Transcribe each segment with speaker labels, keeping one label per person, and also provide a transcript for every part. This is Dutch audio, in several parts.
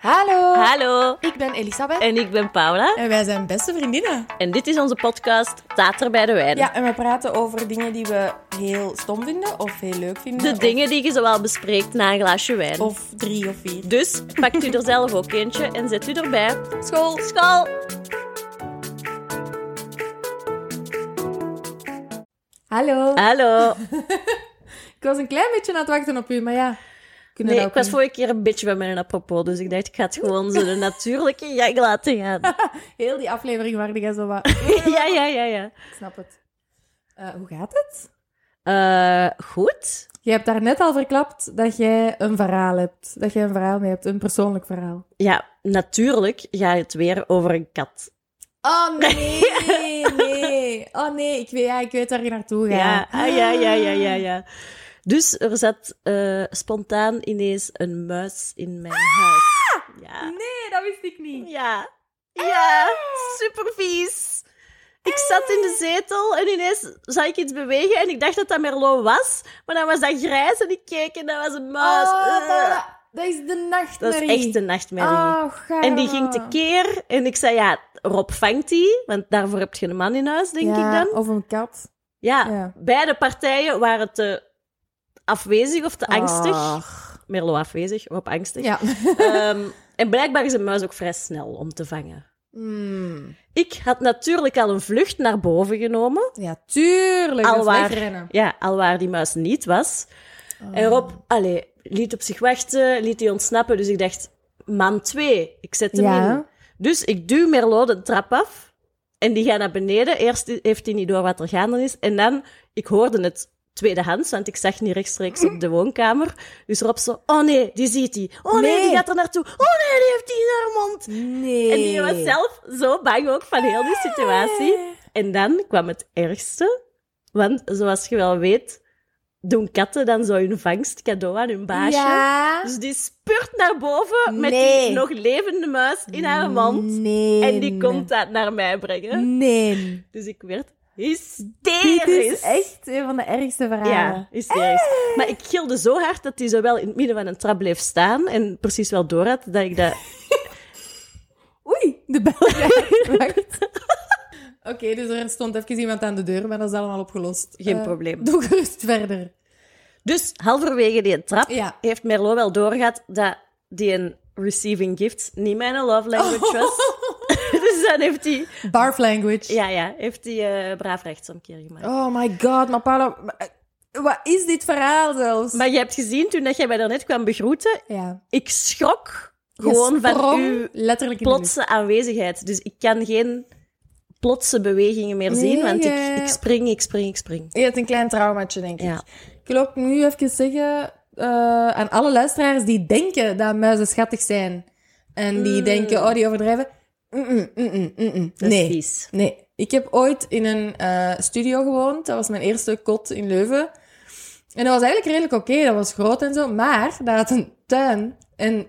Speaker 1: Hallo.
Speaker 2: Hallo,
Speaker 1: Ik ben Elisabeth.
Speaker 2: en ik ben Paula.
Speaker 1: En wij zijn beste vriendinnen.
Speaker 2: En dit is onze podcast Tater bij de Wijn.
Speaker 1: Ja, en we praten over dingen die we heel stom vinden of heel leuk vinden.
Speaker 2: De
Speaker 1: of-
Speaker 2: dingen die je zowel bespreekt na een glaasje wijn.
Speaker 1: Of drie of vier.
Speaker 2: Dus pakt u er zelf ook eentje en zet u erbij.
Speaker 1: School.
Speaker 2: School!
Speaker 1: Hallo.
Speaker 2: Ah. Hallo.
Speaker 1: Ik was een klein beetje aan het wachten op u, maar ja. Kunnen
Speaker 2: Nee,
Speaker 1: we
Speaker 2: ik
Speaker 1: ook
Speaker 2: was
Speaker 1: een-
Speaker 2: vorige keer een beetje bij mijn apropos, dus ik dacht ik ga het gewoon zo de natuurlijke gang laten gaan.
Speaker 1: Heel die aflevering waarde jij zo wat.
Speaker 2: ja, ja, ja, ja.
Speaker 1: Ik snap het. Eh, hoe gaat het?
Speaker 2: Eh, goed.
Speaker 1: Je hebt daarnet al verklapt dat jij een verhaal hebt. Dat jij een verhaal mee hebt, een persoonlijk verhaal.
Speaker 2: Ja, natuurlijk gaat het weer over een kat.
Speaker 1: Oh nee, nee. Oh nee, ik weet, ja, ik weet waar je naartoe gaat.
Speaker 2: Ja, ah, ja, ja, ja, ja, ja. Dus er zat eh, spontaan ineens een muis in
Speaker 1: Ah!
Speaker 2: mijn huis. Ja.
Speaker 1: Nee, dat wist ik niet.
Speaker 2: Ja.
Speaker 1: Ah!
Speaker 2: Ja, super vies. Ik
Speaker 1: Eh.
Speaker 2: zat in de zetel en ineens zag ik iets bewegen en ik dacht dat dat Merlot was, maar dan was dat grijs en ik keek en dat was een muis.
Speaker 1: Oh,
Speaker 2: Eh.
Speaker 1: dat, dat is de
Speaker 2: dat
Speaker 1: nachtmerrie.
Speaker 2: is echt een nachtmerrie.
Speaker 1: Oh, gaar.
Speaker 2: En die ging tekeer en ik zei, ja, Rob vangt die, want daarvoor heb je een man in huis,
Speaker 1: Ja,
Speaker 2: denk ik dan. Ah,
Speaker 1: Of een kat.
Speaker 2: Ja,
Speaker 1: Ja.
Speaker 2: beide partijen waren te afwezig of te angstig.
Speaker 1: Ach.
Speaker 2: Merlo afwezig, Rob angstig.
Speaker 1: Ah. Ja.
Speaker 2: Ehm, en blijkbaar is een muis ook vrij snel om te vangen.
Speaker 1: Hmm.
Speaker 2: Ik had natuurlijk al een vlucht naar boven genomen.
Speaker 1: Ja, tuurlijk. dat is
Speaker 2: Alwaar.
Speaker 1: wegrennen.
Speaker 2: Ja, al waar die muis niet was.
Speaker 1: Ah.
Speaker 2: En Rob, allee, liet op zich wachten, liet die ontsnappen. Dus ik dacht, man twee, ik zet hem
Speaker 1: Ja.
Speaker 2: in. Dus ik duw Merlo de trap af. En die gaat naar beneden. Eerst heeft hij niet door wat er gaande is. En dan, ik hoorde het tweedehands, want ik zag niet rechtstreeks op de woonkamer. Dus Rob zo, oh nee, die ziet hij. Oh nee,
Speaker 1: Nee.
Speaker 2: die gaat er naartoe. Oh nee, die heeft die in haar mond.
Speaker 1: Nee.
Speaker 2: En die was zelf zo bang ook van heel die situatie.
Speaker 1: Nee.
Speaker 2: En dan kwam het ergste. Want zoals je wel weet, doen katten dan zo hun vangst cadeau aan hun baasje.
Speaker 1: Ja.
Speaker 2: Dus die spurt naar boven met
Speaker 1: Nee.
Speaker 2: die nog levende muis in haar mond.
Speaker 1: Nee.
Speaker 2: En die komt dat naar mij brengen.
Speaker 1: Nee.
Speaker 2: Dus ik werd
Speaker 1: Dit Mm. is
Speaker 2: hysterisch.
Speaker 1: echt Ah. Eh. een van de ergste verhalen.
Speaker 2: Ja, hysterisch. Maar ik gilde zo hard dat hij zowel in het midden van een trap bleef staan en precies wel door had dat ik dat...
Speaker 1: Oei, de bel raakt. Wacht. Oké, dus er stond even iemand aan de deur, maar dat is allemaal opgelost.
Speaker 2: Geen
Speaker 1: Eh,
Speaker 2: probleem.
Speaker 1: Doe gerust verder.
Speaker 2: Dus halverwege die trap
Speaker 1: Ja.
Speaker 2: heeft Merlot wel doorgehad dat die een receiving gifts niet mijn love language was. dus dan heeft hij...
Speaker 1: Barf language.
Speaker 2: Ja, ja, heeft hij eh, braaf rechtsomkeer gemaakt.
Speaker 1: Oh my god, maar Paula, maar, eh, wat is dit verhaal zelfs?
Speaker 2: Maar je hebt gezien, toen dat jij mij daarnet kwam begroeten,
Speaker 1: ja.
Speaker 2: ik schrok
Speaker 1: Je
Speaker 2: gewoon van
Speaker 1: sprong
Speaker 2: uw
Speaker 1: letterlijk in de lucht.
Speaker 2: plotse aanwezigheid. Dus ik kan geen plotse bewegingen meer
Speaker 1: Nee,
Speaker 2: zien, want
Speaker 1: jij-
Speaker 2: ik, ik spring, ik spring, ik spring.
Speaker 1: Je hebt een klein traumaatje, denk ik.
Speaker 2: Ja.
Speaker 1: Ik wil ook nu even zeggen eh, aan alle luisteraars die denken dat muizen schattig zijn. En die denken, oh, die overdrijven. Mm-mm, mm-mm, mm-mm.
Speaker 2: Mm. Dat is
Speaker 1: Nee.
Speaker 2: vies.
Speaker 1: Nee, ik heb ooit in een eh, studio gewoond. Dat was mijn eerste kot in Leuven. En dat was eigenlijk redelijk oké. Dat was groot en zo. Maar daar had een tuin. En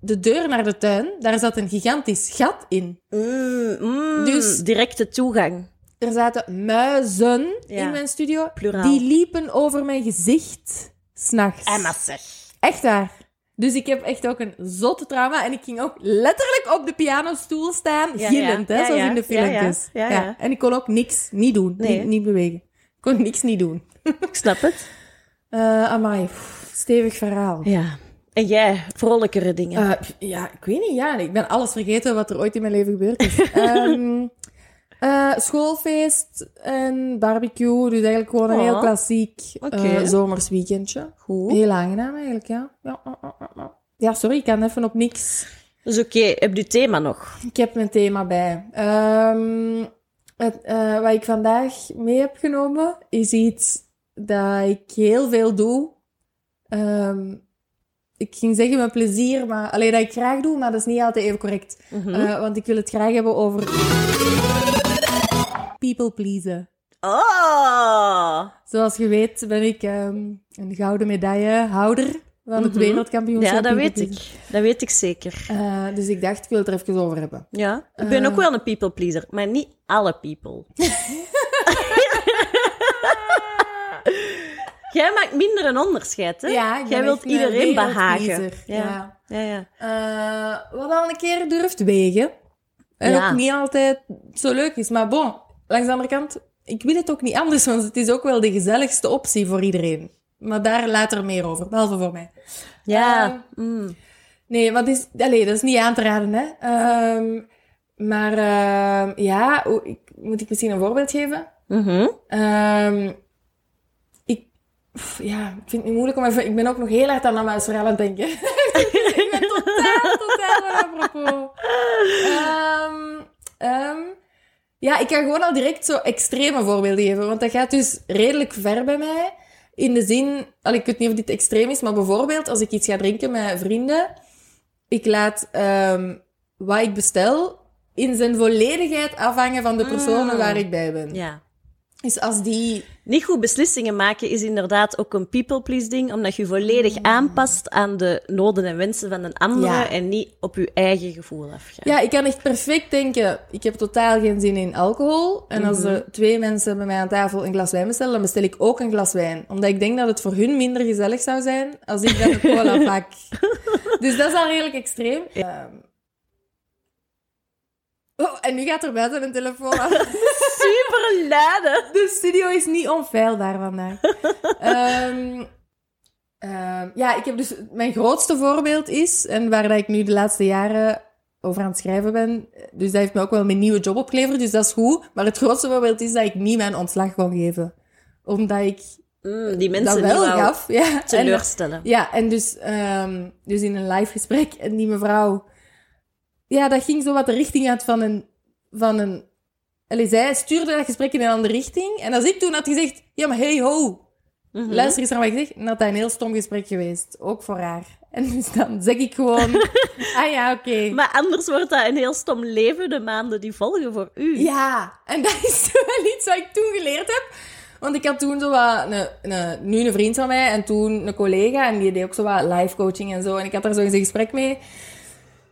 Speaker 1: de deur naar de tuin, daar zat een gigantisch gat in.
Speaker 2: Mm, mm,
Speaker 1: Dus-
Speaker 2: directe toegang.
Speaker 1: Er zaten muizen
Speaker 2: Ja.
Speaker 1: in mijn studio.
Speaker 2: Pluraal.
Speaker 1: Die liepen over mijn gezicht. S'nachts.
Speaker 2: Emma zeg.
Speaker 1: Echt waar. Dus ik heb echt ook een zotte trauma. En ik ging ook letterlijk op de pianostoel staan,
Speaker 2: Ja,
Speaker 1: gillend,
Speaker 2: ja.
Speaker 1: hè,
Speaker 2: Ja,
Speaker 1: zoals
Speaker 2: ja.
Speaker 1: in de
Speaker 2: Ja, ja.
Speaker 1: filmpjes.
Speaker 2: Ja, ja.
Speaker 1: En ik kon ook niks niet doen,
Speaker 2: Nee,
Speaker 1: niet,
Speaker 2: hè?
Speaker 1: niet bewegen. Ik kon niks niet doen.
Speaker 2: Ik snap het.
Speaker 1: Eh amai, pff, stevig verhaal.
Speaker 2: Ja. Ah. En jij, vrolijkere dingen.
Speaker 1: Eh, pff, ja, ik weet niet, ja. Ik ben alles vergeten wat er ooit in mijn leven gebeurd is. Ehm, eh, schoolfeest en barbecue, dus eigenlijk gewoon een
Speaker 2: Oh.
Speaker 1: heel klassiek
Speaker 2: Oké.
Speaker 1: eh, zomers weekendje.
Speaker 2: Goed.
Speaker 1: Heel aangenaam eigenlijk, ja. Ja, ja, ja, ja, ja. ja, sorry, ik kan even op niks.
Speaker 2: Dus oké, heb je thema nog?
Speaker 1: Ik heb mijn thema bij. Ehm, het, eh, wat ik vandaag mee heb genomen is iets dat ik heel veel doe. Ehm, ik ging zeggen mijn plezier, maar alleen dat ik graag doe, maar dat is niet altijd even correct.
Speaker 2: Mhm.
Speaker 1: Eh, want ik wil het graag hebben over people pleasen.
Speaker 2: Oh!
Speaker 1: Zoals je weet ben ik ehm, een gouden medaillehouder van het
Speaker 2: Mhm.
Speaker 1: wereldkampioenschap.
Speaker 2: Ja, dat
Speaker 1: people
Speaker 2: weet
Speaker 1: pleasen.
Speaker 2: ik. Dat weet ik zeker.
Speaker 1: Eh, dus ik dacht, ik wil het er even over hebben.
Speaker 2: Ja. Ik ben
Speaker 1: Eh.
Speaker 2: ook wel een people pleaser, maar niet alle people. Jij maakt minder een onderscheid, hè?
Speaker 1: Ja, ik ben
Speaker 2: Jij wilt
Speaker 1: echt een
Speaker 2: iedereen behagen.
Speaker 1: wereldkiezer,
Speaker 2: Ja.
Speaker 1: ja.
Speaker 2: Ja, ja.
Speaker 1: Eh, wat al een keer durft wegen. En
Speaker 2: Ja.
Speaker 1: ook niet altijd zo leuk is. Maar bon, langs de andere kant, ik wil het ook niet anders, want het is ook wel de gezelligste optie voor iedereen. Maar daar later meer over, behalve voor mij.
Speaker 2: Ja.
Speaker 1: Ehm,
Speaker 2: mm.
Speaker 1: Nee, want het is, allee, dat is niet aan te raden, hè. Ehm, maar ehm, ja, hoe- ik, moet ik misschien een voorbeeld geven?
Speaker 2: Mhm.
Speaker 1: Ehm, ik, pff, ja, ik vind het nu moeilijk om even... Ik ben ook nog heel hard aan mijn verhaal aan het denken. ik ben totaal, totaal apropos. Ehm, ehm, ja, ik kan gewoon al direct zo extreme voorbeelden geven. Want dat gaat dus redelijk ver bij mij. In de zin... Al, ik weet niet of dit extreem is, maar bijvoorbeeld als ik iets ga drinken met vrienden... Ik laat ehm, wat ik bestel in zijn volledigheid afhangen van de personen
Speaker 2: Mm.
Speaker 1: waar ik bij ben.
Speaker 2: ja.
Speaker 1: Dus als die...
Speaker 2: Niet goed beslissingen maken is inderdaad ook een people-please-ding, omdat je je volledig aanpast aan de noden en wensen van een andere
Speaker 1: Mm. Ja.
Speaker 2: en niet op je eigen gevoel afgaat.
Speaker 1: Ja, ik kan echt perfect denken, ik heb totaal geen zin in alcohol. En als er twee mensen bij mij aan tafel een glas wijn bestellen, dan bestel ik ook een glas wijn. Omdat ik denk dat het voor hun minder gezellig zou zijn als ik dan een cola pak. Dus dat is al redelijk extreem. Ehm. Oh, en nu gaat er buiten een telefoon af.
Speaker 2: Super laden!
Speaker 1: De studio is niet onfeilbaar vandaag. Ehm, ehm, ja, ik heb dus... Mijn grootste voorbeeld is, en waar dat ik nu de laatste jaren over aan het schrijven ben, dus dat heeft me ook wel mijn nieuwe job opgeleverd, dus dat is goed. Maar het grootste voorbeeld is dat ik niet mijn ontslag kon geven. Omdat ik
Speaker 2: Mm, die
Speaker 1: dat
Speaker 2: mensen
Speaker 1: wel
Speaker 2: die wou
Speaker 1: gaf. Ja. En,
Speaker 2: teleurstellen.
Speaker 1: ja, en dus, ehm, dus in een live gesprek. En die mevrouw... Ja, dat ging zo wat de richting uit van een... Van een allee, zij stuurde dat gesprek in een andere richting. En als ik toen had gezegd... Ja, maar hey ho,
Speaker 2: Mhm.
Speaker 1: luister eens naar wat ik zeg. Dan had dat een heel stom gesprek geweest. Ook voor haar. En dus dan zeg ik gewoon... ah ja, oké.
Speaker 2: Maar anders wordt dat een heel stom leven de maanden die volgen voor u.
Speaker 1: Ja, en dat is wel iets wat ik toen geleerd heb. Want ik had toen zo wat, een, een, nu een vriend van mij en toen een collega. En die deed ook zo wat life coaching en zo. En ik had daar zo eens een gesprek mee.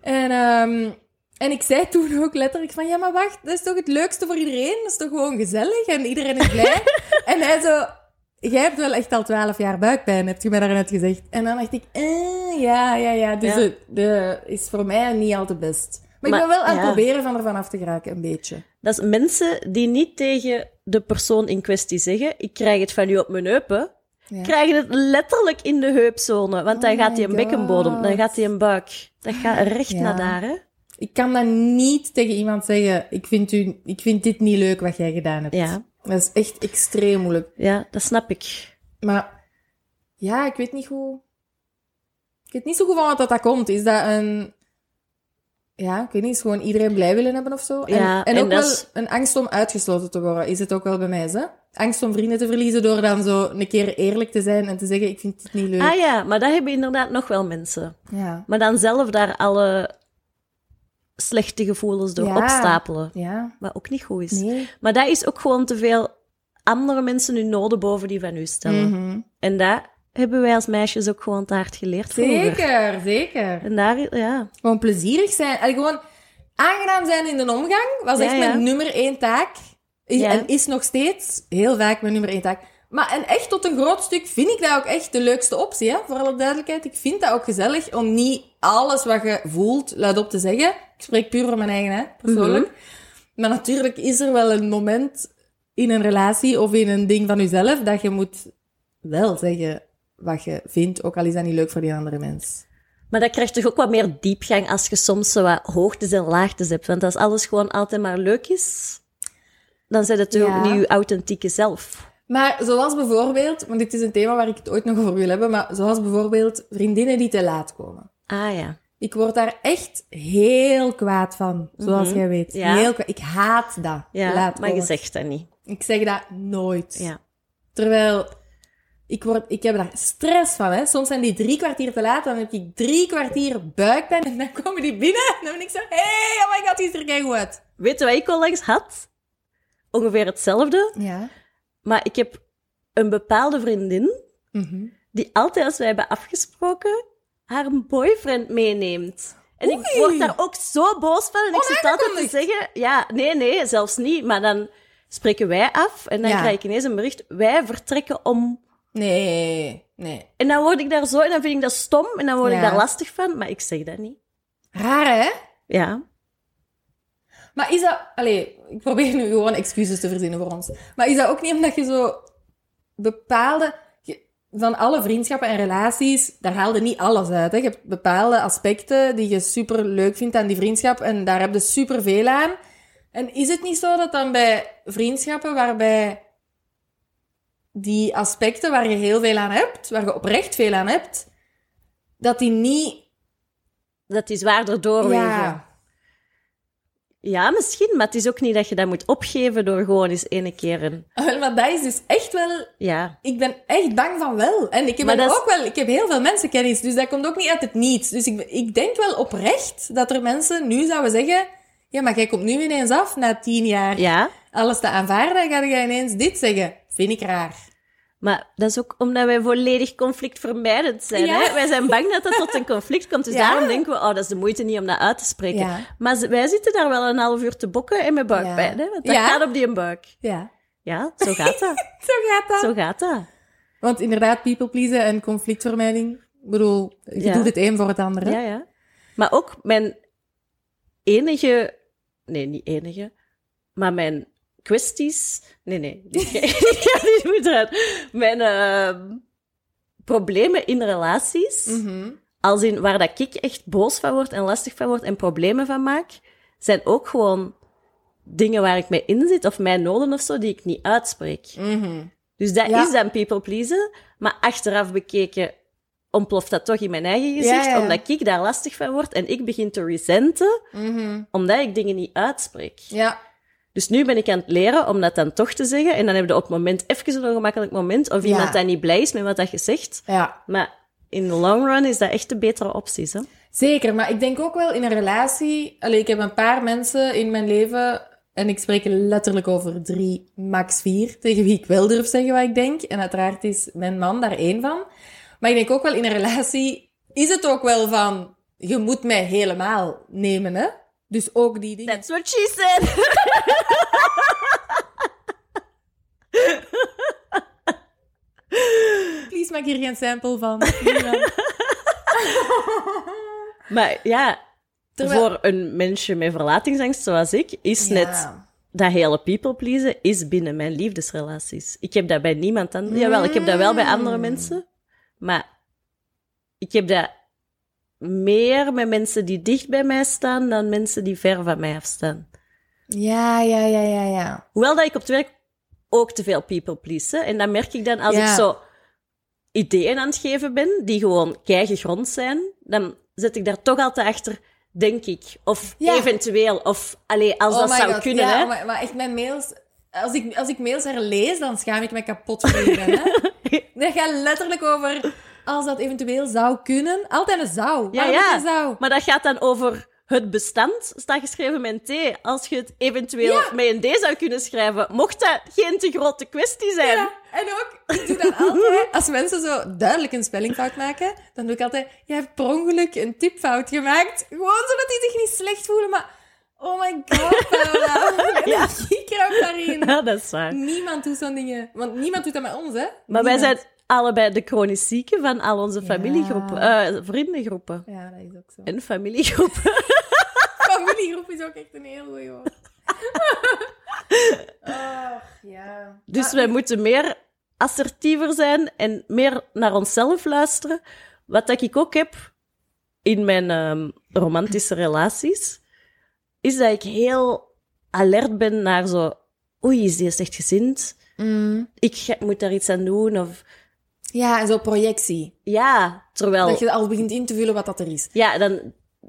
Speaker 1: En, ehm, en ik zei toen ook letterlijk van... Ja, maar wacht, dat is toch het leukste voor iedereen? Dat is toch gewoon gezellig en iedereen is blij? en hij zo... Jij hebt wel echt al twaalf jaar buikpijn, hebt je mij daarnet gezegd. En dan dacht ik... Eh, ja, ja, ja. Dus
Speaker 2: Ja.
Speaker 1: De, de- is voor mij niet al te best. Maar, ik
Speaker 2: Maar-
Speaker 1: ben wel aan het
Speaker 2: ja.
Speaker 1: proberen van ervan af te geraken, een beetje.
Speaker 2: Dat is mensen die niet tegen de persoon in kwestie zeggen: Ik krijg het van u op mijn heupen.
Speaker 1: Ja.
Speaker 2: Krijgen het letterlijk in de heupzone. Want dan
Speaker 1: Oh
Speaker 2: gaat
Speaker 1: my
Speaker 2: hij een bekkenbodem, dan
Speaker 1: God.
Speaker 2: gaat hij een buik. Dat gaat recht
Speaker 1: Ja.
Speaker 2: naar daar, hè?
Speaker 1: Ik kan dan niet tegen iemand zeggen, ik vind, u, ik vind dit niet leuk wat jij gedaan hebt.
Speaker 2: Ja.
Speaker 1: Dat is echt extreem moeilijk.
Speaker 2: Ja, dat snap ik.
Speaker 1: Maar ja, ik weet niet hoe... Ik weet niet zo goed van wat dat, dat komt. Is dat een... Ja, ik weet niet, is gewoon iedereen blij willen hebben of zo?
Speaker 2: Ja,
Speaker 1: en,
Speaker 2: en
Speaker 1: ook
Speaker 2: dat
Speaker 1: wel
Speaker 2: is-
Speaker 1: een angst om uitgesloten te worden, is het ook wel bij mij, hè? Angst om vrienden te verliezen door dan zo een keer eerlijk te zijn en te zeggen, ik vind dit niet leuk.
Speaker 2: Ah ja, maar dat hebben inderdaad nog wel mensen.
Speaker 1: Ja.
Speaker 2: Maar dan zelf daar alle slechte gevoelens door
Speaker 1: Ja.
Speaker 2: opstapelen.
Speaker 1: Ja.
Speaker 2: Wat ook niet goed is.
Speaker 1: Nee.
Speaker 2: Maar dat is ook gewoon te veel andere mensen hun noden boven die van u stellen.
Speaker 1: Mhm.
Speaker 2: En dat hebben wij als meisjes ook gewoon te hard geleerd vroeger.
Speaker 1: Zeker, zeker.
Speaker 2: En daar, ja.
Speaker 1: Gewoon plezierig zijn. En gewoon aangenaam zijn in de omgang was
Speaker 2: Ja,
Speaker 1: echt
Speaker 2: ja.
Speaker 1: mijn nummer één taak. I-
Speaker 2: Ja.
Speaker 1: En is nog steeds heel vaak mijn nummer één taak. Maar en echt tot een groot stuk vind ik dat ook echt de leukste optie, hè? voor alle duidelijkheid. Ik vind dat ook gezellig om niet alles wat je voelt luidop te zeggen. Ik spreek puur voor mijn eigen, hè, persoonlijk.
Speaker 2: Mhm.
Speaker 1: Maar natuurlijk is er wel een moment in een relatie of in een ding van jezelf dat je moet wel zeggen wat je vindt, ook al is dat niet leuk voor die andere mens.
Speaker 2: Maar dat krijgt toch ook wat meer diepgang als je soms zo wat hoogtes en laagtes hebt. Want als alles gewoon altijd maar leuk is, dan zijn het toch
Speaker 1: Ja.
Speaker 2: ook niet je authentieke zelf.
Speaker 1: Maar zoals bijvoorbeeld, want dit is een thema waar ik het ooit nog over wil hebben, maar zoals bijvoorbeeld vriendinnen die te laat komen.
Speaker 2: Ah ja.
Speaker 1: Ik word daar echt heel kwaad van, zoals
Speaker 2: Mhm.
Speaker 1: jij weet.
Speaker 2: Ja.
Speaker 1: Heel kwa- Ik haat dat.
Speaker 2: Ja,
Speaker 1: laat
Speaker 2: maar je
Speaker 1: komen.
Speaker 2: zegt dat niet.
Speaker 1: Ik zeg dat nooit.
Speaker 2: Ja.
Speaker 1: Terwijl ik, word, ik heb daar stress van. Hè. Soms zijn die drie kwartier te laat, dan heb ik drie kwartier buikpijn en dan komen die binnen en dan ben ik zo, hey, oh my god, die is er keigoed uit.
Speaker 2: Weet je wat ik onlangs had? Ongeveer hetzelfde.
Speaker 1: Ja.
Speaker 2: Maar ik heb een bepaalde vriendin
Speaker 1: Mhm.
Speaker 2: die altijd als wij hebben afgesproken haar boyfriend meeneemt. En ik
Speaker 1: Oei.
Speaker 2: word daar ook zo boos van. En ik zit altijd te
Speaker 1: Onaangekondigd.
Speaker 2: zeggen, ja, nee, nee, zelfs niet. Maar dan spreken wij af en dan
Speaker 1: Ja.
Speaker 2: krijg ik ineens een bericht. Wij vertrekken om
Speaker 1: Nee, nee.
Speaker 2: En dan word ik daar zo en dan vind ik dat stom en dan word ik
Speaker 1: Ja.
Speaker 2: daar lastig van, maar ik zeg dat niet.
Speaker 1: Raar, hè?
Speaker 2: Ja.
Speaker 1: Maar is dat... Allee, ik probeer nu gewoon excuses te verzinnen voor ons. Maar is dat ook niet omdat je zo bepaalde... je- Van alle vriendschappen en relaties, daar haalde niet alles uit. Hè? Je hebt bepaalde aspecten die je super leuk vindt aan die vriendschap en daar heb je super veel aan. En is het niet zo dat dan bij vriendschappen waarbij die aspecten waar je heel veel aan hebt, waar je oprecht veel aan hebt, dat die niet.
Speaker 2: Dat is zwaarder doorwegen. Ja.
Speaker 1: Ja,
Speaker 2: misschien, maar het is ook niet dat je dat moet opgeven door gewoon eens ene keer een...
Speaker 1: maar dat is dus echt wel
Speaker 2: Ja.
Speaker 1: Ik ben echt bang van wel. En ik heb,
Speaker 2: Maar
Speaker 1: er
Speaker 2: dat is-
Speaker 1: ook wel, ik heb heel veel mensenkennis, dus dat komt ook niet uit het niets. Dus ik, ik denk wel oprecht dat er mensen nu zouden zeggen... Ja, maar jij komt nu ineens af, na tien jaar
Speaker 2: Ja.
Speaker 1: alles te aanvaarden, ga jij ineens dit zeggen. Vind ik raar.
Speaker 2: Maar dat is ook omdat wij volledig conflictvermijdend zijn.
Speaker 1: Ja.
Speaker 2: Hè? Wij zijn bang dat dat tot een conflict komt. Dus
Speaker 1: Ja.
Speaker 2: daarom denken we, oh, dat is de moeite niet om dat uit te spreken.
Speaker 1: Ja.
Speaker 2: Maar ze- wij zitten daar wel een half uur te bokken en met buikpijn.
Speaker 1: Ja.
Speaker 2: Hè? Want dat
Speaker 1: Ja.
Speaker 2: gaat op die buik.
Speaker 1: Ja,
Speaker 2: Ja, zo gaat dat.
Speaker 1: zo gaat dat.
Speaker 2: zo gaat dat.
Speaker 1: Want inderdaad, people pleasen en conflictvermijding... Ik bedoel, je
Speaker 2: Ja.
Speaker 1: doet het een voor het andere.
Speaker 2: Ja, ja. Maar ook mijn enige... Nee, niet enige. Maar mijn kwesties... Nee, nee. Die ga niet goed eruit. Mijn ehm, problemen in relaties...
Speaker 1: Mhm.
Speaker 2: Als in waar dat ik echt boos van word en lastig van word en problemen van maak, zijn ook gewoon dingen waar ik mee in zit of mijn noden of zo die ik niet uitspreek.
Speaker 1: Mhm.
Speaker 2: Dus dat
Speaker 1: Ja.
Speaker 2: is dan people pleasen, maar achteraf bekeken ontploft dat toch in mijn eigen gezicht,
Speaker 1: Ja, ja.
Speaker 2: omdat ik daar lastig van word en ik begin te resenten
Speaker 1: Mhm.
Speaker 2: omdat ik dingen niet uitspreek.
Speaker 1: Ja.
Speaker 2: Dus nu ben ik aan het leren om dat dan toch te zeggen en dan heb je op het moment even een ongemakkelijk moment of
Speaker 1: Ja.
Speaker 2: iemand dan niet blij is met wat dat je zegt.
Speaker 1: Ja.
Speaker 2: Maar in de long run is dat echt de betere opties, hè?
Speaker 1: Zeker, maar ik denk ook wel in een relatie. Allee, ik heb een paar mensen in mijn leven. En ik spreek letterlijk over drie, max vier. Tegen wie ik wel durf zeggen wat ik denk. En uiteraard is mijn man daar één van. Maar ik denk ook wel in een relatie. Is het ook wel van. Je moet mij helemaal nemen, hè? Dus ook die dingen.
Speaker 2: That's what she said.
Speaker 1: Please maak hier geen sample van.
Speaker 2: Maar ja,
Speaker 1: Terwijl-
Speaker 2: voor een mensje met verlatingsangst zoals ik, is
Speaker 1: Ja.
Speaker 2: net dat hele people pleasen is binnen mijn liefdesrelaties. Ik heb dat bij niemand anders. Jawel, ik heb dat wel bij andere
Speaker 1: Mm.
Speaker 2: mensen. Maar ik heb dat meer met mensen die dicht bij mij staan dan mensen die ver van mij afstaan.
Speaker 1: Ja, ja, ja, ja, ja.
Speaker 2: Hoewel dat ik op het werk ook te veel people please. hè. En dat merk ik dan als
Speaker 1: Ja.
Speaker 2: ik zo ideeën aan het geven ben, die gewoon keigegrond zijn, dan zet ik daar toch altijd achter, denk ik. Of
Speaker 1: Ja.
Speaker 2: eventueel, of allee, als
Speaker 1: Oh
Speaker 2: dat
Speaker 1: my
Speaker 2: zou
Speaker 1: God,
Speaker 2: kunnen.
Speaker 1: ja,
Speaker 2: hè.
Speaker 1: Maar, maar echt, mijn mails... Als ik, als ik mails herlees, dan schaam ik me kapot voor je. hè. Dat gaat letterlijk over... Als dat eventueel zou kunnen. Altijd een zou.
Speaker 2: Ja,
Speaker 1: Waarom
Speaker 2: ja.
Speaker 1: Een zou.
Speaker 2: Maar dat gaat dan over het bestand, staat geschreven met een T. Als je het eventueel
Speaker 1: Ja.
Speaker 2: met een D zou kunnen schrijven, mocht dat geen te grote kwestie zijn.
Speaker 1: Ja, en ook, ik doe dat altijd. Als mensen zo duidelijk een spellingfout maken, dan doe ik altijd... Je hebt per ongeluk een tipfout gemaakt. Gewoon zodat die zich niet slecht voelen, maar... Oh my god, Paula.
Speaker 2: Ja.
Speaker 1: Ik kruip daarin.
Speaker 2: Ja, dat is waar.
Speaker 1: Niemand doet zo'n dingen. Want niemand doet dat met ons, hè.
Speaker 2: Maar wij
Speaker 1: Niemand.
Speaker 2: zijn allebei de chronisch zieken van al onze familiegroepen, eh, vriendengroepen
Speaker 1: Ja, dat is ook zo.
Speaker 2: en familiegroepen.
Speaker 1: Familiegroep is ook echt een heel goeie hoor. Och, ja.
Speaker 2: Dus
Speaker 1: Maar-
Speaker 2: wij moeten meer assertiever zijn en meer naar onszelf luisteren. Wat dat ik ook heb in mijn ehm, romantische relaties, is dat ik heel alert ben naar zo... Oei, is die eens echt gezind?
Speaker 1: Mm.
Speaker 2: Ik ga- moet daar iets aan doen of...
Speaker 1: Ja, en zo projectie.
Speaker 2: Ja, terwijl...
Speaker 1: Dat je al begint in te vullen wat dat er is.
Speaker 2: Ja, dan,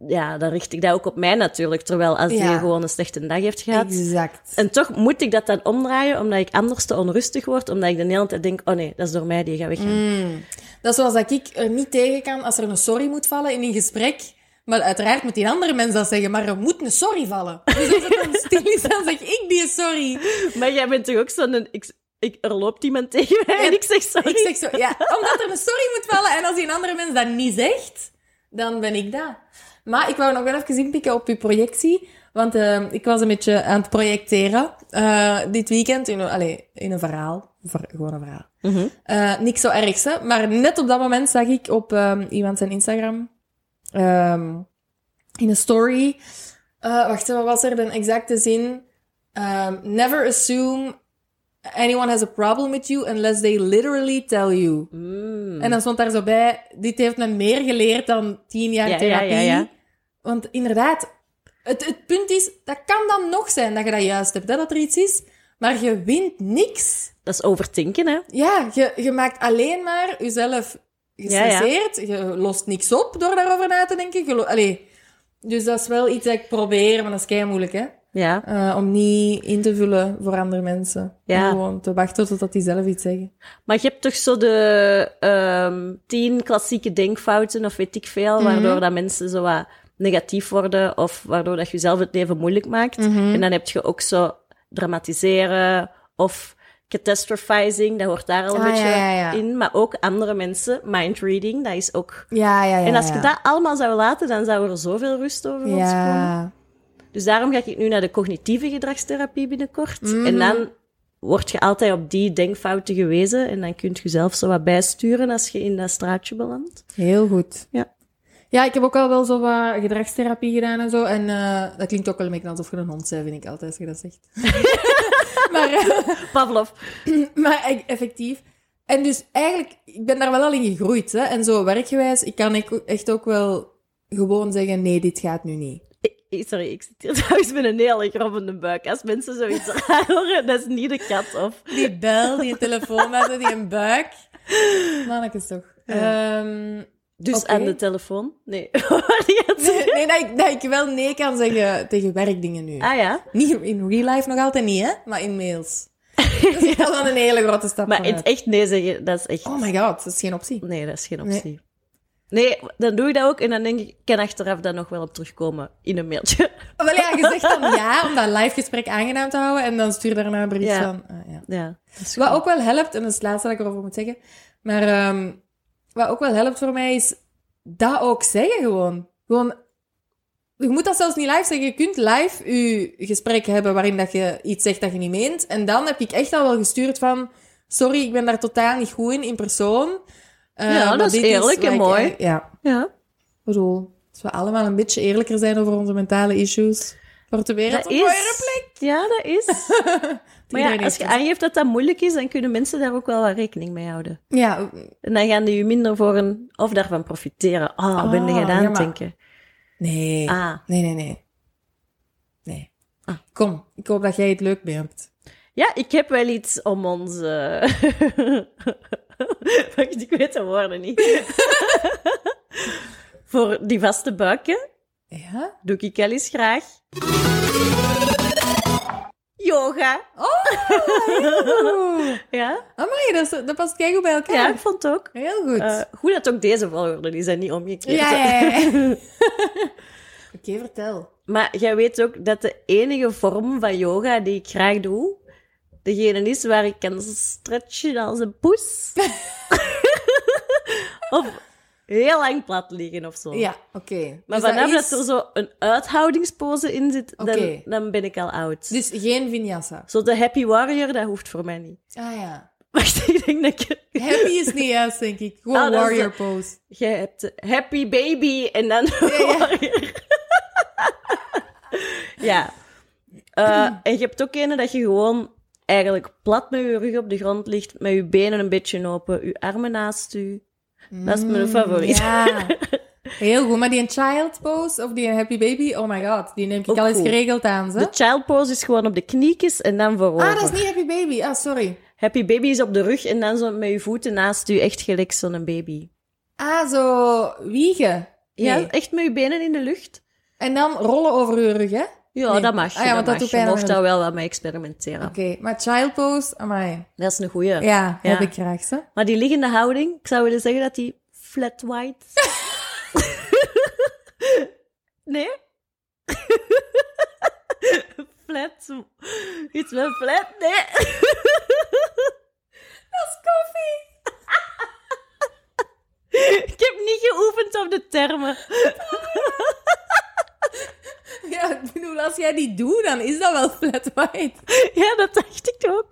Speaker 2: ja, dan richt ik dat ook op mij natuurlijk. Terwijl als die
Speaker 1: Ja.
Speaker 2: gewoon een slechte dag heeft gehad...
Speaker 1: Exact.
Speaker 2: En toch moet ik dat dan omdraaien, omdat ik anders te onrustig word. Omdat ik de hele tijd denk, oh nee, dat is door mij, die gaat weg.
Speaker 1: Mm. Dat is zoals dat ik er niet tegen kan als er een sorry moet vallen in een gesprek. Maar uiteraard moet die andere mens dat zeggen, maar er moet een sorry vallen. Dus als het dan stil is, dan zeg ik die sorry.
Speaker 2: Maar jij bent toch ook zo'n... Ik, ik, er loopt iemand tegen mij en ik zeg sorry.
Speaker 1: Ik zeg zo, ja, omdat er een sorry moet vallen. En als die een andere mens dat niet zegt, dan ben ik dat. Maar ik wou nog wel even inpikken op uw projectie. Want eh, ik was een beetje aan het projecteren eh, dit weekend in, een- allee, in een verhaal. Ver- gewoon een verhaal.
Speaker 2: Mhm.
Speaker 1: Eh, niks zo ergs, hè. Maar net op dat moment zag ik op ehm, iemand zijn Instagram, ehm, in een story... eh, wacht, wat was er de exacte zin? Ehm, Never assume anyone has a problem with you unless they literally tell you.
Speaker 2: Mm.
Speaker 1: En dan stond daar zo bij, dit heeft me meer geleerd dan tien jaar
Speaker 2: Ja, ja,
Speaker 1: therapie.
Speaker 2: ja, ja.
Speaker 1: Want inderdaad, het, het punt is, dat kan dan nog zijn dat je dat juist hebt, hè, dat er iets is. Maar je wint niks.
Speaker 2: Dat is overtinken, hè?
Speaker 1: Ja, je, je maakt alleen maar jezelf gestresseerd. Je lost niks op door daarover na te denken. Je lo- Allee, dus dat is wel iets dat ik probeer, maar dat is kei moeilijk, hè.
Speaker 2: Ja.
Speaker 1: Eh, om niet in te vullen voor andere mensen.
Speaker 2: Ja.
Speaker 1: Gewoon te wachten totdat die zelf iets zeggen.
Speaker 2: Maar je hebt toch zo de ehm, tien klassieke denkfouten of weet ik
Speaker 1: Mhm.
Speaker 2: veel, waardoor dat mensen zo wat negatief worden of waardoor dat je zelf het leven moeilijk maakt.
Speaker 1: Mhm.
Speaker 2: En dan heb je ook zo dramatiseren of catastrophizing, dat hoort daar al een
Speaker 1: Ah,
Speaker 2: beetje
Speaker 1: ja, ja, ja.
Speaker 2: in. Maar ook andere mensen, mindreading, dat is ook...
Speaker 1: Ja, ja, ja.
Speaker 2: en als je
Speaker 1: ja.
Speaker 2: dat allemaal zou laten, dan zou er zoveel rust over ons komen.
Speaker 1: Ja.
Speaker 2: Dus daarom ga ik nu naar de cognitieve gedragstherapie binnenkort. En dan word je altijd op die denkfouten gewezen. En dan kunt je zelf zo wat bijsturen als je in dat straatje belandt.
Speaker 1: Heel goed.
Speaker 2: Ja.
Speaker 1: Ja, ik heb ook al wel zo wat gedragstherapie gedaan en zo. En eh, dat klinkt ook wel een beetje alsof je een hond bent, vind ik altijd, als je dat zegt. maar, eh,
Speaker 2: Pavlov.
Speaker 1: maar e- effectief. En dus eigenlijk, ik ben daar wel al in gegroeid. Hè? En zo werkgewijs, ik kan ik- echt ook wel gewoon zeggen, nee, dit gaat nu niet.
Speaker 2: Eh, Sorry, ik zit hier trouwens met een hele grobbende buik. Als mensen zoiets raar horen, dat is niet de kat of...
Speaker 1: Die bel, die telefoon met die een buik. Mannetjes toch. Ehm,
Speaker 2: Dus
Speaker 1: Oké.
Speaker 2: aan de telefoon? Nee. Die had-
Speaker 1: nee, nee, dat, ik, dat ik wel nee kan zeggen tegen werkdingen nu.
Speaker 2: Ah ja.
Speaker 1: Niet in real life nog altijd niet, hè? Maar in mails. Dus dat is dan een hele grote stap
Speaker 2: Maar in het
Speaker 1: vooruit.
Speaker 2: echt nee zeggen, dat is echt...
Speaker 1: Oh my god, dat is geen optie.
Speaker 2: Nee, dat is geen
Speaker 1: Nee.
Speaker 2: optie. Nee, dan doe ik dat ook en dan denk ik, ik kan achteraf dan nog wel op terugkomen in een mailtje.
Speaker 1: Wel ja, je zegt dan ja om dat live gesprek aangenaam te houden en dan stuur je daarna een bericht
Speaker 2: Ja.
Speaker 1: van... ah, ja.
Speaker 2: Ja, dat is
Speaker 1: Wat
Speaker 2: goed.
Speaker 1: ook wel helpt, en dat is het laatste dat ik erover moet zeggen, maar ehm, wat ook wel helpt voor mij is dat ook zeggen gewoon. Gewoon... Je moet dat zelfs niet live zeggen. Je kunt live je gesprek hebben waarin dat je iets zegt dat je niet meent. En dan heb ik echt al wel gestuurd van... Sorry, ik ben daar totaal niet goed in, in persoon. Eh,
Speaker 2: Ja, dat
Speaker 1: maar
Speaker 2: is
Speaker 1: dit
Speaker 2: eerlijk en
Speaker 1: wat ik-
Speaker 2: mooi.
Speaker 1: Ja,
Speaker 2: Ja.
Speaker 1: Ik bedoel, als we allemaal een beetje eerlijker zijn over onze mentale issues, wordt de wereld een mooiere plek.
Speaker 2: Ja, dat is. maar
Speaker 1: Iedereen
Speaker 2: ja, als
Speaker 1: heeft
Speaker 2: je
Speaker 1: het.
Speaker 2: aangeeft dat dat moeilijk is, dan kunnen mensen daar ook wel wat rekening mee houden.
Speaker 1: Ja,
Speaker 2: En dan gaan die je minder voor een... Of daarvan profiteren. Ah,
Speaker 1: Ah,
Speaker 2: ben je
Speaker 1: ja,
Speaker 2: aan
Speaker 1: maar-
Speaker 2: het denken?
Speaker 1: nee.
Speaker 2: Ah.
Speaker 1: Nee, nee, nee. Nee.
Speaker 2: Ah.
Speaker 1: Kom, ik hoop dat jij het leuk mee hebt.
Speaker 2: Ja, ik heb wel iets om onze... Wacht, ik weet de woorden niet. voor die vaste buiken
Speaker 1: Ja?
Speaker 2: doe ik wel eens graag... Yoga.
Speaker 1: Oeh.
Speaker 2: Ja,
Speaker 1: Amai, dat, is, dat past kei goed bij elkaar.
Speaker 2: ja ik vond het ook.
Speaker 1: Heel goed.
Speaker 2: Eh, goed dat ook deze volgorde is en niet omgekeerd.
Speaker 1: ja, ja, ja. ja. Oké, vertel.
Speaker 2: Maar jij weet ook dat de enige vorm van yoga die ik graag doe, degene is waar ik kan stretchen als een poes. of heel lang plat liggen of zo.
Speaker 1: Ja, oké.
Speaker 2: Maar
Speaker 1: Dus
Speaker 2: vanaf dat,
Speaker 1: is-
Speaker 2: er zo een uithoudingspose in zit, dan,
Speaker 1: Oké.
Speaker 2: dan ben ik al oud.
Speaker 1: Dus geen vinyasa.
Speaker 2: Zo de happy warrior, dat hoeft voor mij niet.
Speaker 1: Ah ja.
Speaker 2: Wacht, ik denk dat ik...
Speaker 1: Happy is niet juist, denk ik. Gewoon
Speaker 2: Ah, dat is-
Speaker 1: warrior pose.
Speaker 2: Jij hebt happy baby en dan
Speaker 1: ja.
Speaker 2: warrior. ja. Eh, en je hebt ook ene dat je gewoon eigenlijk plat met je rug op de grond ligt, met je benen een beetje open, je armen naast u. Dat is mijn favoriet.
Speaker 1: Mm, Ja. Heel goed. Maar die child pose of die happy baby, oh my god, die neem ik
Speaker 2: Ook
Speaker 1: al eens
Speaker 2: goed.
Speaker 1: geregeld aan,
Speaker 2: De
Speaker 1: ze.
Speaker 2: child pose is gewoon op de kniekjes en dan voorover.
Speaker 1: Ah, dat is niet happy baby. Ah, sorry.
Speaker 2: Happy baby is op de rug en dan zo met je voeten naast u, echt gelijk zo'n baby.
Speaker 1: Ah, zo wiegen.
Speaker 2: Ja,
Speaker 1: Nee.
Speaker 2: echt met je benen in de lucht.
Speaker 1: En dan rollen over je rug, hè?
Speaker 2: Ja,
Speaker 1: Nee.
Speaker 2: dat mag je.
Speaker 1: Ah ja,
Speaker 2: dat
Speaker 1: want dat
Speaker 2: mag
Speaker 1: doet
Speaker 2: je. Je
Speaker 1: pijn aan de
Speaker 2: mocht daar wel wat mee experimenteren.
Speaker 1: Oké, maar child pose, amai.
Speaker 2: Dat is een goeie.
Speaker 1: Ja, heb
Speaker 2: Ja.
Speaker 1: ik graag, ze.
Speaker 2: Maar die liggende houding, ik zou willen zeggen dat die flat white. nee? flat. Iets met flat? Nee. dat is koffie. ik heb niet geoefend op de termen.
Speaker 1: Ja, ik bedoel, als jij die doet, dan is dat wel flat white.
Speaker 2: ja, dat dacht ik ook.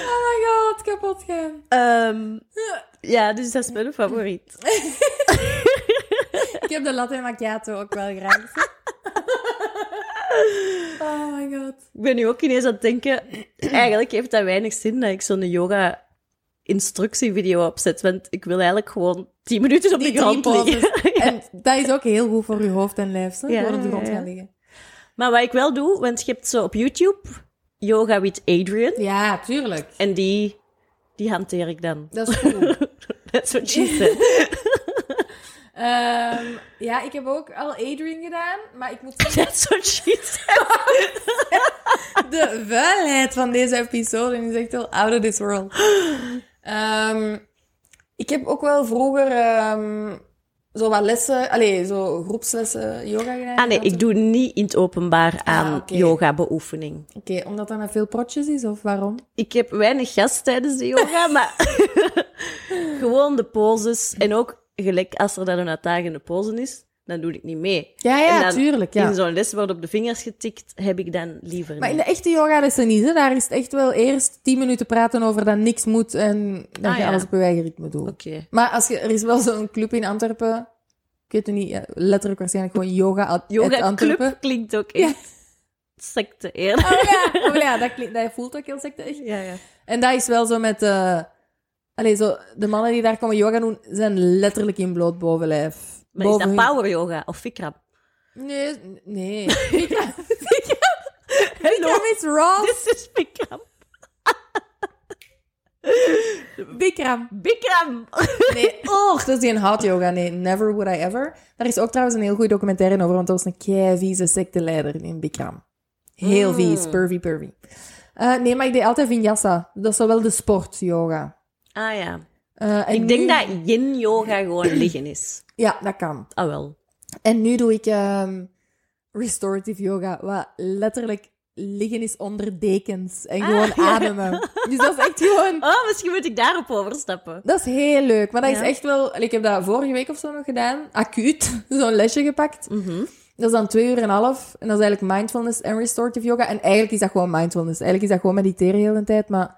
Speaker 1: Oh my god, kapot gaan.
Speaker 2: Ehm, ja, dus dat is mijn favoriet.
Speaker 1: Ik heb de latte macchiato ook wel graag. oh my god.
Speaker 2: Ik ben nu ook ineens aan het denken, eigenlijk heeft dat weinig zin dat ik zo'n yoga instructievideo opzet, want ik wil eigenlijk gewoon 10 minuten op de
Speaker 1: Die
Speaker 2: grond
Speaker 1: drie poses.
Speaker 2: liggen.
Speaker 1: En dat is ook heel goed voor je hoofd en lijf, hè?
Speaker 2: Ja,
Speaker 1: Gewoon op de grond
Speaker 2: ja, ja.
Speaker 1: gaan liggen.
Speaker 2: Maar wat ik wel doe, want je hebt zo op YouTube Yoga with Adrian,
Speaker 1: Ja, tuurlijk.
Speaker 2: en die, die hanteer ik dan.
Speaker 1: Dat is cool.
Speaker 2: That's what she said.
Speaker 1: Ehm, ja, ik heb ook al Adrian gedaan, maar ik moet zeggen,
Speaker 2: That's what she said.
Speaker 1: de vuilheid van deze episode is echt wel out of this world. Ehm, ik heb ook wel vroeger ehm, zo wat lessen, allee, zo groepslessen yoga gedaan.
Speaker 2: Ah nee,
Speaker 1: Dat-
Speaker 2: ik doe niet in het openbaar aan
Speaker 1: Ah, oké.
Speaker 2: yoga beoefening.
Speaker 1: Oké, omdat dat met veel protjes is, of waarom?
Speaker 2: Ik heb weinig gast tijdens de yoga, maar gewoon de poses. En ook, gelijk als er dan een uitdagende pose is, dan doe ik niet mee.
Speaker 1: Ja,
Speaker 2: En
Speaker 1: ja,
Speaker 2: dan
Speaker 1: tuurlijk, ja.
Speaker 2: In zo'n les wordt op de vingers getikt, heb ik dan liever
Speaker 1: Maar in
Speaker 2: niet.
Speaker 1: de echte yoga is dat niet, hè. Daar is het echt wel eerst tien minuten praten over dat niks moet en dat
Speaker 2: Ah,
Speaker 1: je
Speaker 2: ja.
Speaker 1: alles op je eigen ritme doet.
Speaker 2: Oké.
Speaker 1: Maar als je, er is wel zo'n club in Antwerpen. Ik weet het niet, eh, letterlijk waarschijnlijk gewoon yoga at at
Speaker 2: Yoga
Speaker 1: Antwerpen.
Speaker 2: club klinkt ook
Speaker 1: Ja.
Speaker 2: echt secte eerlijk.
Speaker 1: Oh ja, oh ja dat, klinkt, dat voelt ook heel secte echt.
Speaker 2: Ja, ja.
Speaker 1: En dat is wel zo met... eh allee, zo, de mannen die daar komen yoga doen, zijn letterlijk in bloot bovenlijf.
Speaker 2: Maar is
Speaker 1: Boven
Speaker 2: dat
Speaker 1: hun-
Speaker 2: power yoga of Vikram?
Speaker 1: Nee, nee. Vikram
Speaker 2: Hello,
Speaker 1: Vikram is raw.
Speaker 2: this is Vikram.
Speaker 1: Bikram.
Speaker 2: Bikram!
Speaker 1: Nee, och, dat is die een hot yoga. Nee, never would I ever. Daar is ook trouwens een heel goede documentaire over, want er was een kei vieze secteleider in Bikram. Heel
Speaker 2: Mm.
Speaker 1: vies, pervy, pervy. Eh, nee, maar ik deed altijd vinyasa. Dat is dan wel de sport yoga.
Speaker 2: Ah ja.
Speaker 1: Eh, en
Speaker 2: Ik denk
Speaker 1: nu-
Speaker 2: dat yin yoga gewoon liggen is.
Speaker 1: Ja, dat kan.
Speaker 2: Ah wel.
Speaker 1: En nu doe ik ehm, restorative yoga, wat letterlijk liggen is onder dekens
Speaker 2: Ah.
Speaker 1: en gewoon ademen. Dus dat is echt gewoon
Speaker 2: Oh, misschien moet ik daarop overstappen.
Speaker 1: Dat is heel leuk. Maar dat
Speaker 2: Ja.
Speaker 1: is echt wel... Ik heb dat vorige week of zo nog gedaan. Acuut. Zo'n lesje gepakt.
Speaker 2: Mhm.
Speaker 1: Dat is dan twee uur en een half. En dat is eigenlijk mindfulness en restorative yoga. En eigenlijk is dat gewoon mindfulness. Eigenlijk is dat gewoon mediteren heel de hele tijd. Maar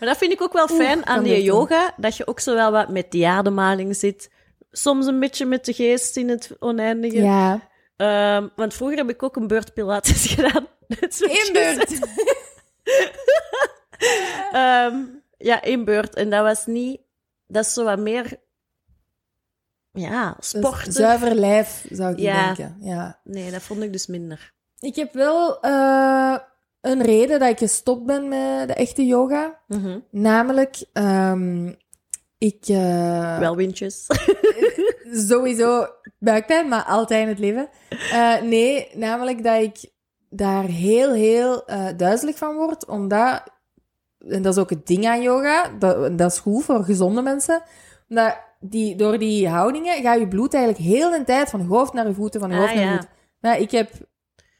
Speaker 2: Maar dat vind ik ook wel fijn aan
Speaker 1: kan
Speaker 2: die
Speaker 1: dit
Speaker 2: yoga, dat je ook zowel wat met die ademhaling zit, soms een beetje met de geest in het oneindige.
Speaker 1: ja...
Speaker 2: Ehm, want vroeger heb ik ook een beurt pilates gedaan. Net zoals je
Speaker 1: Eén
Speaker 2: zei.
Speaker 1: beurt.
Speaker 2: Ehm, ja, één beurt. En dat was niet... Dat is zo wat meer... Ja,
Speaker 1: Dat
Speaker 2: sporten.
Speaker 1: is Zuiver lijf, zou ik
Speaker 2: Ja.
Speaker 1: denken. Ja.
Speaker 2: Nee, dat vond ik dus minder.
Speaker 1: Ik heb wel eh, een reden dat ik gestopt ben met de echte yoga.
Speaker 2: Mhm.
Speaker 1: Namelijk... ehm, ik... eh,
Speaker 2: Wel windjes.
Speaker 1: sowieso buikpijn, maar altijd in het leven. Eh, nee, namelijk dat ik daar heel, heel eh, duizelig van word, omdat... En dat is ook het ding aan yoga, dat, dat is goed voor gezonde mensen. Omdat die, door die houdingen gaat je bloed eigenlijk heel de tijd van je hoofd naar je voeten, van je
Speaker 2: Ah,
Speaker 1: hoofd naar je
Speaker 2: ja.
Speaker 1: voeten. Nou, ik heb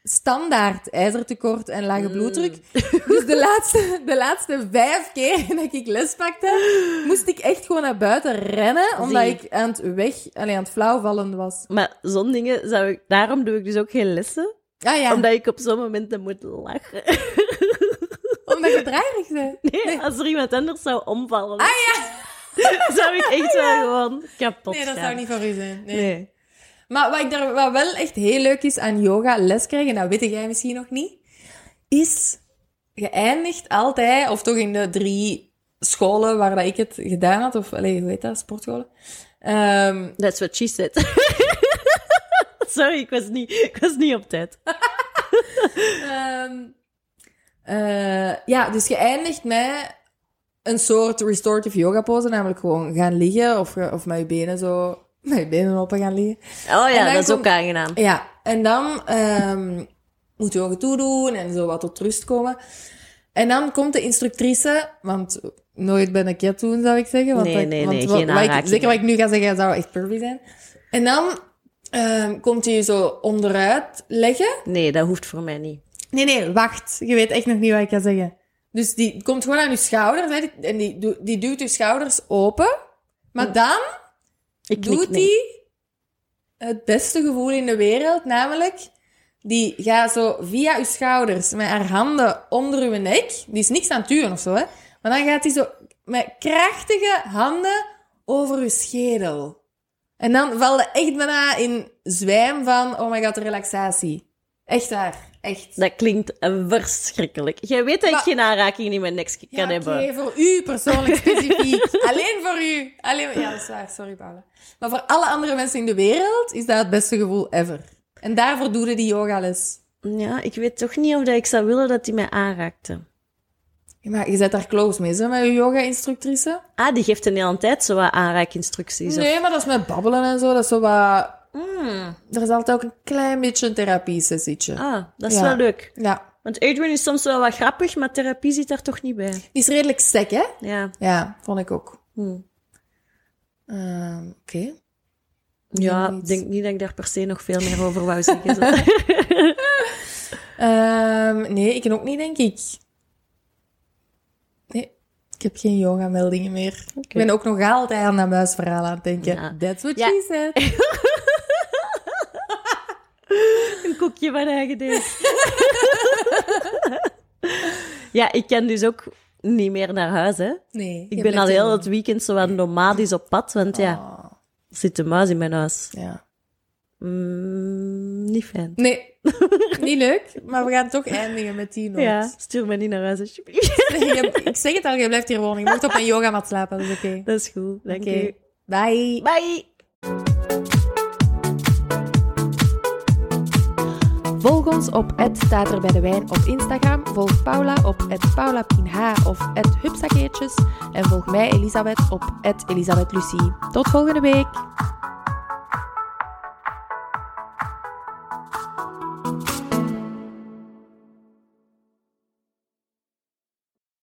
Speaker 1: standaard ijzertekort en lage
Speaker 2: Mm.
Speaker 1: bloeddruk. Dus de laatste, de laatste vijf keer dat ik les pakte, moest ik echt gewoon naar buiten rennen, omdat
Speaker 2: Zie.
Speaker 1: ik aan het weg, alleen aan het flauwvallen was.
Speaker 2: Maar zo'n dingen zou ik... Daarom doe ik dus ook geen lessen.
Speaker 1: Ah ja, omdat,
Speaker 2: Omdat ik op zo'n moment dan moet lachen.
Speaker 1: je draaierig bent.
Speaker 2: Nee, als er iemand anders zou omvallen. Ah ja! zou ik echt wel gewoon kapot
Speaker 1: Nee, dat
Speaker 2: gaan.
Speaker 1: zou niet voor u zijn. Nee.
Speaker 2: Nee.
Speaker 1: Maar wat, ik daar, wat wel echt heel leuk is aan yoga les krijgen, en dat weet jij misschien nog niet, is je eindigt altijd, of toch in de drie scholen waar dat ik het gedaan had, of allee, hoe heet dat, sportscholen, ehm,
Speaker 2: That's what she said. Sorry, ik was, niet, ik was niet op tijd. Oh
Speaker 1: Ehm, eh, ja, dus je eindigt met een soort restorative yoga pose, namelijk gewoon gaan liggen of, ge- of met je benen zo, met je benen open gaan liggen.
Speaker 2: Oh
Speaker 1: En
Speaker 2: ja,
Speaker 1: dan
Speaker 2: dat is ook
Speaker 1: komt-
Speaker 2: aangenaam.
Speaker 1: Ja, en dan ehm moet je ogen toedoen en zo wat tot rust komen. En dan komt de instructrice, want nooit ben ik het toen, zou ik zeggen. Want
Speaker 2: Nee,
Speaker 1: dat-
Speaker 2: nee,
Speaker 1: want
Speaker 2: nee,
Speaker 1: wat-
Speaker 2: geen
Speaker 1: wat ik-
Speaker 2: aanraking.
Speaker 1: Zeker wat ik nu ga zeggen, zou echt pervy zijn. En dan ehm komt hij je zo onderuit leggen.
Speaker 2: Nee, dat hoeft voor mij niet.
Speaker 1: Nee, nee, wacht. Je weet echt nog niet wat ik ga zeggen. Dus die komt gewoon aan je schouders hè, die- en die, doe- die duwt je schouders open. Maar dan
Speaker 2: Ik
Speaker 1: doet
Speaker 2: niet.
Speaker 1: die het beste gevoel in de wereld, namelijk die gaat zo via je schouders met haar handen onder je nek. Die is niks aan het duwen of zo, hè. Maar Maar dan gaat hij zo met krachtige handen over je schedel. En dan val je echt bijna in zwijm van, oh my god, relaxatie. Echt waar, echt.
Speaker 2: Dat klinkt eh, verschrikkelijk. Jij weet dat ik
Speaker 1: Maar-
Speaker 2: geen aanraking in mijn niks kan
Speaker 1: Ja, oké,
Speaker 2: hebben.
Speaker 1: voor u persoonlijk specifiek. Alleen voor u. Alleen, ja, dat is waar. Sorry, Paula. Maar voor alle andere mensen in de wereld is dat het beste gevoel ever. En daarvoor doe je die yogales.
Speaker 2: Ja, ik weet toch niet of dat ik zou willen dat die mij aanraakte.
Speaker 1: Ja, maar je zet daar close mee, hè, met je yoga-instructrice.
Speaker 2: Ah, die geeft een hele tijd zo wat aanraakinstructies. of-
Speaker 1: Nee, maar dat is met babbelen en zo. Dat is zo wat...
Speaker 2: Mm.
Speaker 1: Er is altijd ook een klein beetje een therapie-sessietje.
Speaker 2: Ah, dat is
Speaker 1: Ja.
Speaker 2: wel leuk.
Speaker 1: Ja.
Speaker 2: Want Adrian is soms wel wat grappig, maar therapie zit daar toch niet bij.
Speaker 1: Die is redelijk sec, hè?
Speaker 2: Ja.
Speaker 1: Ja, vond ik ook.
Speaker 2: Hm.
Speaker 1: Ehm, Oké.
Speaker 2: Ja,
Speaker 1: Niet.
Speaker 2: ik denk niet dat ik daar per se nog veel meer over wou zeggen. Zo.
Speaker 1: Ehm, nee, ik ook niet, denk ik. Nee, ik heb geen yoga-meldingen meer. Ik ben ook nog altijd aan dat muisverhaal aan het denken.
Speaker 2: Ja.
Speaker 1: That's what
Speaker 2: Ja.
Speaker 1: she said.
Speaker 2: Een koekje van eigen deeg. ja, ik kan dus ook niet meer naar huis, hè.
Speaker 1: Nee. je
Speaker 2: Ik ben
Speaker 1: blijft
Speaker 2: al heel
Speaker 1: helemaal-
Speaker 2: het weekend zo wat nomadisch op pad, want ja,
Speaker 1: Oh,
Speaker 2: er zit een muis in mijn huis.
Speaker 1: ja.
Speaker 2: Mm, niet fijn.
Speaker 1: Nee, niet leuk, maar we gaan toch eindigen met die noot.
Speaker 2: Ja, stuur me niet naar huis, alsjeblieft.
Speaker 1: Je- ik zeg het al, je blijft hier wonen. Je moet op een yogamat slapen, dat is oké.
Speaker 2: Dat is goed, dank
Speaker 1: Oké.
Speaker 2: u.
Speaker 1: Bye.
Speaker 2: Bye!
Speaker 1: Volg ons op het staat er bij de wijn op Instagram. Volg Paula op het paulapinh of het hupsakeertjes. En volg mij Elisabeth op het Elisabeth Lucie. Tot volgende week.